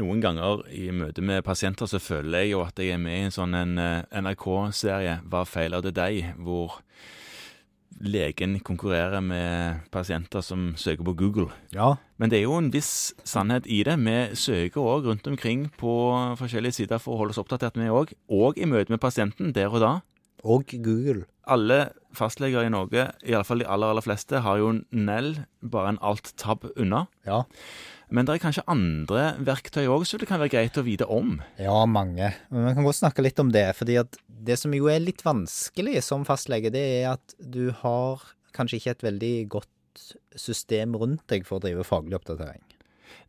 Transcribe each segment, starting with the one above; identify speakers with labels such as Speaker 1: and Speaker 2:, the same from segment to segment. Speaker 1: noen ganger i møte med pasienter så føler jeg jo at jeg er med i en sånn en eh, NRK-serie, Hva feiler det deg?, hvor legen konkurrerer med pasienter som søker på Google.
Speaker 2: Ja.
Speaker 1: Men det er jo en viss sannhet i det. Vi søker òg rundt omkring på forskjellige sider for å holde oss oppdatert, vi òg. Og i møte med pasienten der og da.
Speaker 2: Og Google.
Speaker 1: Alle fastleger i Norge, iallfall de aller, aller fleste, har jo en NEL, bare en alt-tab unna.
Speaker 2: Ja.
Speaker 1: Men det er kanskje andre verktøy òg som det kan være greit å vite om.
Speaker 2: Ja, mange. Men vi kan godt snakke litt om det. fordi at det som jo er litt vanskelig som fastlege, det er at du har kanskje ikke et veldig godt system rundt deg for å drive faglig oppdatering.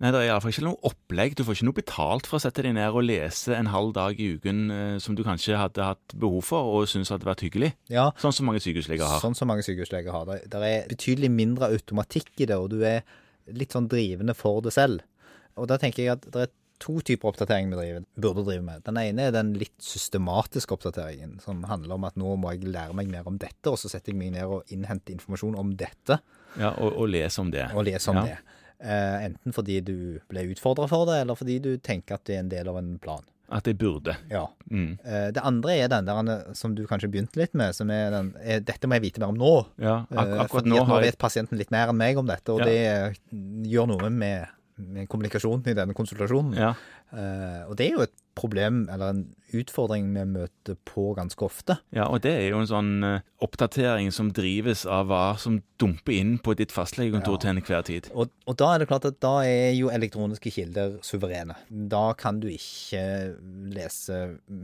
Speaker 1: Nei, det er iallfall ikke noe opplegg. Du får ikke noe betalt for å sette deg ned og lese en halv dag i uken eh, som du kanskje hadde hatt behov for og syntes hadde vært hyggelig.
Speaker 2: Ja,
Speaker 1: Sånn som mange sykehusleger har.
Speaker 2: sånn som mange sykehusleger har. Det der er betydelig mindre automatikk i det, og du er litt sånn drivende for det selv. Og da tenker jeg at det er to typer oppdatering vi driver, burde drive med. Den ene er den litt systematiske oppdateringen, som handler om at nå må jeg lære meg mer om dette, og så setter jeg meg ned og innhenter informasjon om dette.
Speaker 1: Ja, og, og lese om det.
Speaker 2: og lese om
Speaker 1: Ja.
Speaker 2: det. Eh, enten fordi du ble utfordra for det, eller fordi du tenker at det er en del av en plan.
Speaker 1: At jeg burde.
Speaker 2: Ja.
Speaker 1: Mm.
Speaker 2: Eh, det andre er den der eh, som du kanskje begynte litt med, som er den eh, Dette må jeg vite mer om nå.
Speaker 1: Ja,
Speaker 2: Eh,
Speaker 1: ak akkurat
Speaker 2: fordi
Speaker 1: nå
Speaker 2: at nå
Speaker 1: har jeg
Speaker 2: vet pasienten litt mer enn meg om dette, og
Speaker 1: Ja.
Speaker 2: det eh, gjør noe med, med kommunikasjonen i denne konsultasjonen.
Speaker 1: ja,
Speaker 2: Eh, og det er jo et problem, eller en utfordring, vi møter på ganske ofte.
Speaker 1: ja, og det er jo en sånn eh, oppdatering som drives av hva som dumper inn på ditt fastlegekontor
Speaker 2: Ja.
Speaker 1: til enhver tid.
Speaker 2: Og, og da er det klart at da er jo elektroniske kilder suverene. Da kan du ikke lese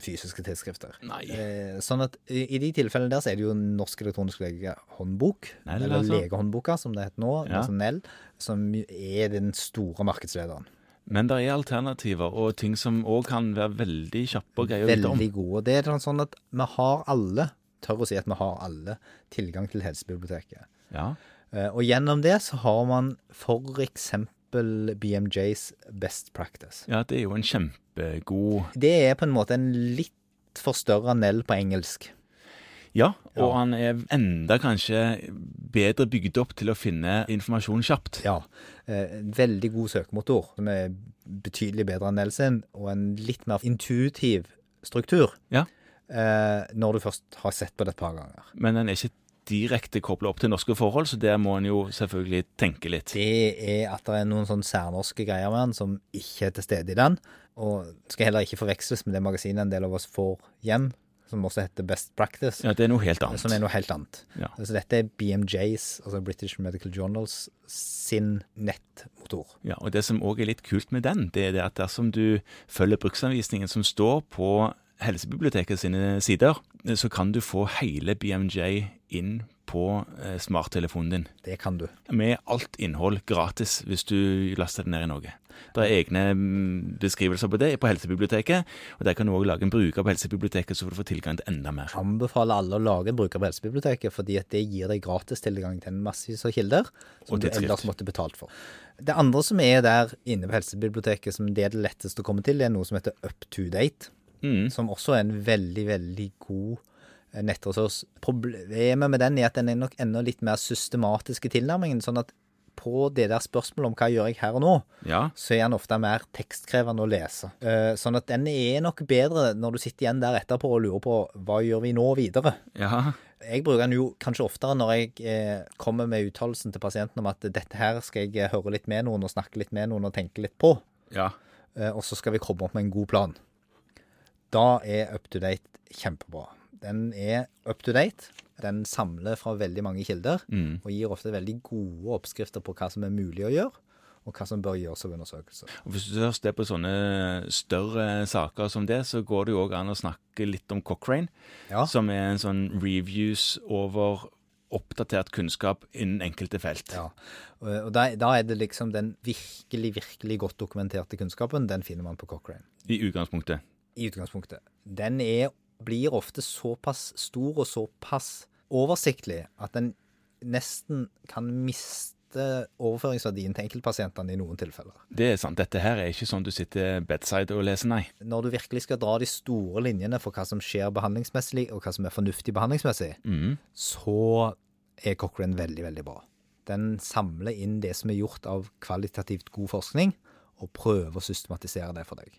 Speaker 2: fysiske tidsskrifter.
Speaker 1: Nei.
Speaker 2: Eh, Sånn at i i de tilfellene der så er det jo Norsk elektronisk legehåndbok,
Speaker 1: Nell,
Speaker 2: eller
Speaker 1: altså.
Speaker 2: legehåndboka som det heter nå,
Speaker 1: Ja.
Speaker 2: altså Nell, som jo er den store markedslederen.
Speaker 1: Men det er alternativer og ting som òg kan være veldig kjappe og greie å vite om.
Speaker 2: Veldig god. Og det er sånn- sånn at vi har alle, tør å si at vi har alle, tilgang til helsebiblioteket.
Speaker 1: Ja.
Speaker 2: Eh, Og gjennom det så har man for eksempel BMJs Best Practice.
Speaker 1: ja, det er jo en kjempegod
Speaker 2: Det er på en måte en litt forstørra Nell på engelsk.
Speaker 1: Ja, og
Speaker 2: Ja.
Speaker 1: han er enda kanskje bedre bygd opp til å finne informasjon kjapt.
Speaker 2: Ja. eh, en Veldig god søkemotor, som er betydelig bedre enn Nell sin, og en litt mer intuitiv struktur.
Speaker 1: Ja.
Speaker 2: eh, Når du først har sett på det et par ganger.
Speaker 1: Men den er ikke direkte kobla opp til norske forhold, så der må en jo selvfølgelig tenke litt.
Speaker 2: Det er at det er noen sånn særnorske greier med den som ikke er til stede i den, og skal heller ikke forveksles med det magasinet en del av oss får hjem, som også heter Best Practice.
Speaker 1: Ja, Det er noe helt
Speaker 2: Som er
Speaker 1: annet.
Speaker 2: noe helt annet.
Speaker 1: Ja.
Speaker 2: Så dette er BMJs, altså British Medical Journals, sin nettmotor.
Speaker 1: Ja, og Det som òg er litt kult med den, det er det at dersom du følger bruksanvisningen som står på Helsebiblioteket sine sider, så kan du få hele BMJ inn på eh, smarttelefonen din.
Speaker 2: Det kan du.
Speaker 1: Med alt innhold gratis hvis du laster det ned i Norge. Det er egne mm, beskrivelser på det på Helsebiblioteket, og der kan du òg lage en bruker på Helsebiblioteket, så får du få tilgang til enda mer.
Speaker 2: anbefaler alle å lage en bruker på Helsebiblioteket, fordi at det gir deg gratis tilgang til en massevis av kilder som
Speaker 1: Og
Speaker 2: du
Speaker 1: tidsskrift.
Speaker 2: ellers måtte betalt for. Det andre som er der inne på Helsebiblioteket, som det er det letteste å komme til, det er noe som heter Up to Date,
Speaker 1: Mm.
Speaker 2: som også er en veldig, veldig god eh, nettressurs. Problemet med den er at den er nok enda litt mer systematisk i tilnærmingen, sånn at på det der spørsmålet om hva gjør jeg her og nå,
Speaker 1: Ja,
Speaker 2: så er den ofte mer tekstkrevende å lese. Eh, Sånn at den er nok bedre når du sitter igjen der etterpå og lurer på hva gjør vi nå videre.
Speaker 1: ja,
Speaker 2: Jeg bruker den jo kanskje oftere når jeg eh, kommer med uttalelsen til pasienten om at dette her skal jeg eh, høre litt med noen og snakke litt med noen og tenke litt på,
Speaker 1: ja.
Speaker 2: eh, og så skal vi komme opp med en god plan. Da er up to date kjempebra. Den er up to date. Den samler fra veldig mange kilder
Speaker 1: Mm.
Speaker 2: og gir ofte veldig gode oppskrifter på hva som er mulig å gjøre, og hva som bør gjøres av undersøkelser.
Speaker 1: Og Hvis du først er på sånne større saker som det, så går det jo òg an å snakke litt om Cochrane,
Speaker 2: Ja.
Speaker 1: som er en sånn reviews over oppdatert kunnskap innen enkelte felt.
Speaker 2: Ja, og og da, da er det liksom den virkelig, virkelig godt dokumenterte kunnskapen, den finner man på Cochrane.
Speaker 1: I utgangspunktet.
Speaker 2: i utgangspunktet. Den er, blir ofte såpass stor og såpass oversiktlig at den nesten kan miste overføringsverdien til enkeltpasientene i noen tilfeller.
Speaker 1: Det er sant. Dette her er ikke sånn du sitter bedside og leser, nei.
Speaker 2: Når du virkelig skal dra de store linjene for hva som skjer behandlingsmessig, og hva som er fornuftig behandlingsmessig,
Speaker 1: Mhm.
Speaker 2: så er Cochrane veldig, veldig bra. Den samler inn det som er gjort av kvalitativt god forskning, og prøve å systematisere det for deg.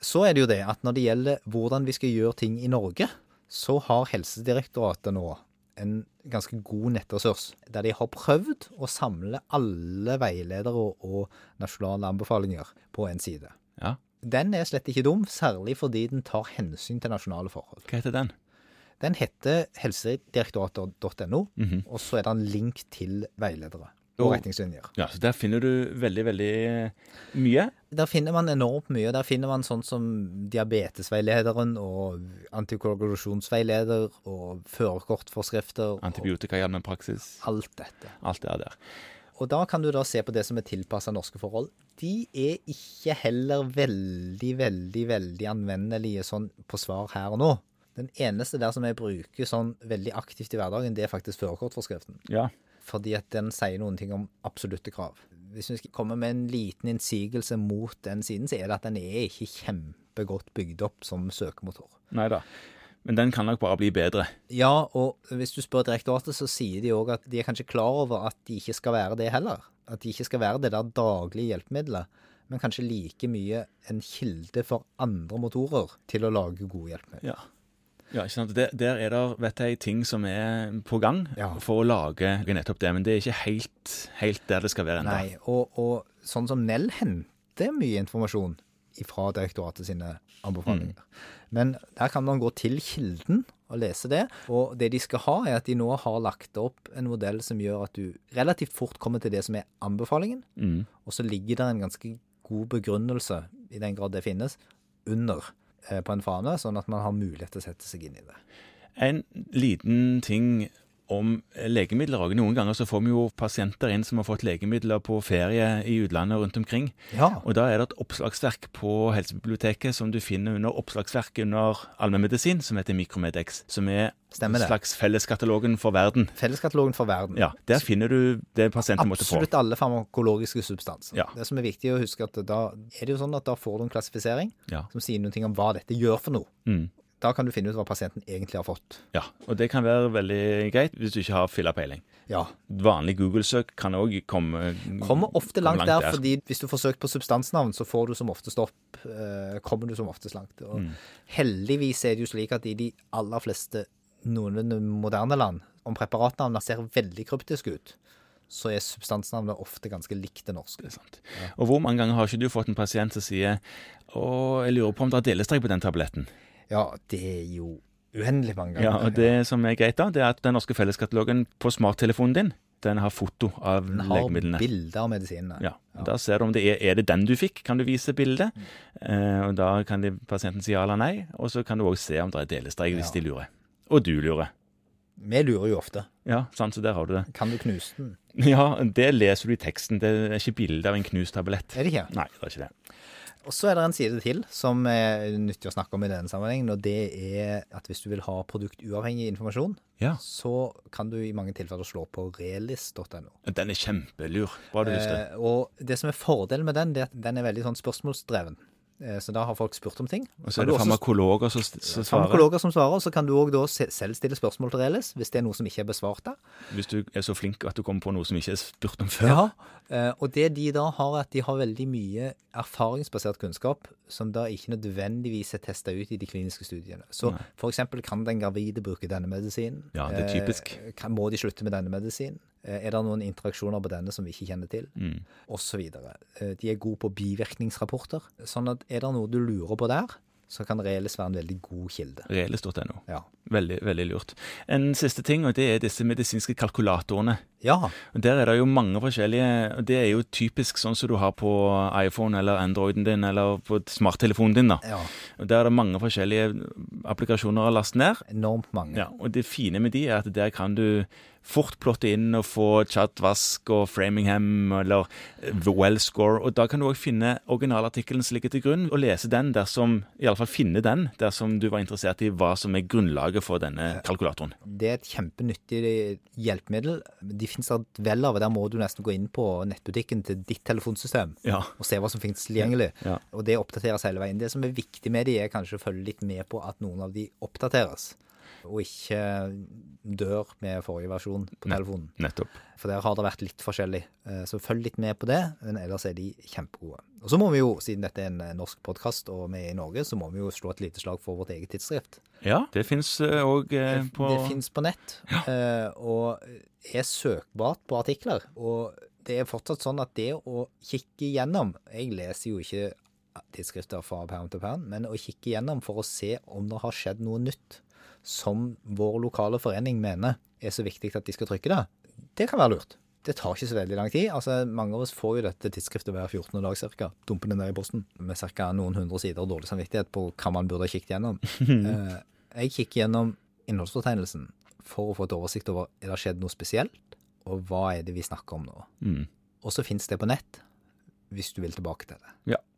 Speaker 2: Så er det jo det at når det gjelder hvordan vi skal gjøre ting i Norge, så har Helsedirektoratet nå en ganske god nettressurs der de har prøvd å samle alle veiledere og nasjonale anbefalinger på én side.
Speaker 1: Ja.
Speaker 2: Den er slett ikke dum, særlig fordi den tar hensyn til nasjonale forhold.
Speaker 1: Hva heter den?
Speaker 2: Den heter helsedirektoratet.no,
Speaker 1: Mhm.
Speaker 2: og så er det en link til veiledere og
Speaker 1: Og-
Speaker 2: retningslinjer.
Speaker 1: Ja, så Der finner du veldig, veldig eh, mye.
Speaker 2: Der finner man enormt mye. Der finner man sånn som diabetesveilederen og antikoagulasjonsveileder og førerkortforskrifter. og
Speaker 1: Antibiotika i allmennpraksis.
Speaker 2: Alt dette.
Speaker 1: Alt det der.
Speaker 2: Og da kan du da se på det som er tilpassa norske forhold. De er ikke heller veldig, veldig, veldig anvendelige sånn på svar her og nå. Den eneste der som jeg bruker sånn veldig aktivt i hverdagen, det er faktisk førerkortforskriften.
Speaker 1: Ja.
Speaker 2: fordi at den sier noen ting om absolutte krav. Hvis vi skal komme med en liten innsigelse mot den siden, så er det at den er ikke kjempegodt bygd opp som søkemotor.
Speaker 1: Nei da. Men den kan nok bare bli bedre.
Speaker 2: Ja, og hvis du spør direktoratet, så sier de òg at de er kanskje klar over at de ikke skal være det heller. At de ikke skal være det der daglige hjelpemiddelet, men kanskje like mye en kilde for andre motorer til å lage gode hjelpemidler.
Speaker 1: Ja. Ja, ikke sant? Der, der er det vet jeg, ting som er på gang
Speaker 2: Ja.
Speaker 1: for å lage nettopp det. Men det er ikke helt, helt der det skal være ennå.
Speaker 2: Nei, og, og sånn som Nell henter mye informasjon fra direktoratet sine anbefalinger. Men der kan man gå til kilden og lese det. Og det de skal ha, er at de nå har lagt opp en modell som gjør at du relativt fort kommer til det som er anbefalingen,
Speaker 1: Mm.
Speaker 2: og så ligger det en ganske god begrunnelse, i den grad det finnes, under eh, på en fane, sånn at man har mulighet til å sette seg inn i det.
Speaker 1: En liten ting om legemidler òg. Noen ganger så får vi jo pasienter inn som har fått legemidler på ferie i utlandet og rundt omkring.
Speaker 2: Ja,
Speaker 1: Og da er det et oppslagsverk på Helsebiblioteket som du finner under oppslagsverk under allmennmedisin, som heter Mikromedex. Som er
Speaker 2: Stemmer det.
Speaker 1: slags felleskatalogen for verden.
Speaker 2: Felleskatalogen for verden.
Speaker 1: Ja, Der finner du det pasienten måtte få.
Speaker 2: Absolutt alle farmakologiske substanser.
Speaker 1: Ja.
Speaker 2: Det som er viktig å huske, at da er det jo sånn at da får du en klassifisering
Speaker 1: Ja.
Speaker 2: som sier noe om hva dette gjør for noe.
Speaker 1: Mm.
Speaker 2: Da kan du finne ut hva pasienten egentlig har fått.
Speaker 1: ja. Og det kan være veldig greit hvis du ikke har filla peiling.
Speaker 2: Ja.
Speaker 1: Vanlig Google-søk kan òg komme
Speaker 2: Kommer ofte langt,
Speaker 1: langt
Speaker 2: der,
Speaker 1: der.
Speaker 2: fordi hvis du får søkt på substansnavn, så får du som oftest opp eh, Kommer du som oftest langt. Og
Speaker 1: Mm.
Speaker 2: Heldigvis er det jo slik at i de aller fleste noenlunde moderne land, om preparatnavnene ser veldig kryptiske ut, så er substansnavnene ofte ganske likte norske.
Speaker 1: Det er sant. Og hvor mange ganger har ikke du fått en pasient som sier å, jeg lurer på om det er delestrek på den tabletten.
Speaker 2: Ja, det er jo uendelig mange ganger.
Speaker 1: Ja, og det som er greit da, det er at den norske felleskatalogen på smarttelefonen din, den har foto av
Speaker 2: Den har
Speaker 1: legemidlene.
Speaker 2: bilder av medisinene.
Speaker 1: Ja, og Da ser du om det er, er det den du fikk, kan du vise bildet. Eh, og Da kan de, pasienten si ja eller nei, og så kan du òg se om det er delestrek hvis
Speaker 2: Ja.
Speaker 1: de lurer. Og du lurer.
Speaker 2: Vi lurer jo ofte.
Speaker 1: Ja, sant, så der har du det.
Speaker 2: Kan du knuse den?
Speaker 1: Ja, det leser du i teksten. Det er ikke bilde av en knust tablett.
Speaker 2: Er det ikke?
Speaker 1: Nei, det er ikke det.
Speaker 2: Og så er det en side til som er nyttig å snakke om i denne sammenhengen, og det er at hvis du vil ha produktuavhengig informasjon,
Speaker 1: Ja,
Speaker 2: så kan du i mange tilfeller slå på relis.no.
Speaker 1: Den er kjempelur. Bra du husker det.
Speaker 2: Eh, og det som er fordelen med den, det er at den er veldig sånn spørsmålsdreven. Eh, så da har folk spurt om ting.
Speaker 1: Og så
Speaker 2: Kan
Speaker 1: er
Speaker 2: du
Speaker 1: det
Speaker 2: også-
Speaker 1: farmakologer som s- som svarer.
Speaker 2: farmakologer som svarer, så kan du òg da se- selv stille spørsmål til Relis hvis det er noe som ikke er besvart der.
Speaker 1: Hvis du er så flink at du kommer på noe som ikke er spurt om før.
Speaker 2: Ja, eh, og det de da har, er at de har veldig mye erfaringsbasert kunnskap som da ikke nødvendigvis er testa ut i de kliniske studiene. Så f.eks. kan den gravide bruke denne medisinen?
Speaker 1: Ja, det er
Speaker 2: Eh,
Speaker 1: typisk.
Speaker 2: Kan, må de slutte med denne medisinen? Eh, Er det noen interaksjoner på denne som vi ikke kjenner til?
Speaker 1: Mm.
Speaker 2: Og så videre. Eh, De er gode på bivirkningsrapporter. Sånn at er det noe du lurer på der, så kan Relis være en veldig god kilde.
Speaker 1: Reles.no.
Speaker 2: Ja.
Speaker 1: Veldig, veldig lurt. En siste ting, og det er disse medisinske kalkulatorene.
Speaker 2: ja.
Speaker 1: Og Der er det jo mange forskjellige, og det er jo typisk sånn som du har på iPhone eller Androiden din, eller på smarttelefonen din, da.
Speaker 2: ja.
Speaker 1: Og Der er det mange forskjellige applikasjoner å laste ned.
Speaker 2: Enormt mange.
Speaker 1: Ja, og det fine med de er at der kan du fort plotte inn og få Chadwask og Framingham eller Wellscore, og da kan du òg finne originalartikkelen som ligger til grunn, og lese den dersom Iallfall finne den dersom du var interessert i hva som er grunnlaget for denne kalkulatoren.
Speaker 2: Det er et kjempenyttig hjelpemiddel. De finnes da et vel av, og der må du nesten gå inn på nettbutikken til ditt telefonsystem
Speaker 1: Ja.
Speaker 2: og se hva som finnes tilgjengelig.
Speaker 1: Ja.
Speaker 2: Og det oppdateres hele veien. Det som er viktig med de, er kanskje å følge litt med på at noen av de oppdateres. og ikke dør med forrige versjon på
Speaker 1: Nei.
Speaker 2: telefonen.
Speaker 1: Nettopp.
Speaker 2: For der har det vært litt forskjellig. Eh, Så følg litt med på det, men ellers er de kjempegode. Og så må vi jo, siden dette er en eh, norsk podkast og vi er i Norge, så må vi jo slå et lite slag for vårt eget tidsskrift.
Speaker 1: Ja, det fins òg
Speaker 2: Det,
Speaker 1: eh, på
Speaker 2: det fins på nett, eh, og er søkbart på artikler. Og det er fortsatt sånn at det å kikke gjennom Jeg leser jo ikke tidsskrifter fra perm til perm, men å kikke gjennom for å se om det har skjedd noe nytt som vår lokale forening mener er så viktig at de skal trykke det, det kan være lurt. Det tar ikke så veldig lang tid. altså Mange av oss får jo dette tidsskriftet hver 14. dag ca. Dumpende ned i posten med ca. noen hundre sider dårlig samvittighet på hva man burde ha kikket gjennom. Eh, jeg kikker gjennom innholdsfortegnelsen for å få et oversikt over er det skjedd noe spesielt, og hva er det vi snakker om nå.
Speaker 1: mm.
Speaker 2: Og så finnes det på nett, hvis du vil tilbake til det.
Speaker 1: Ja.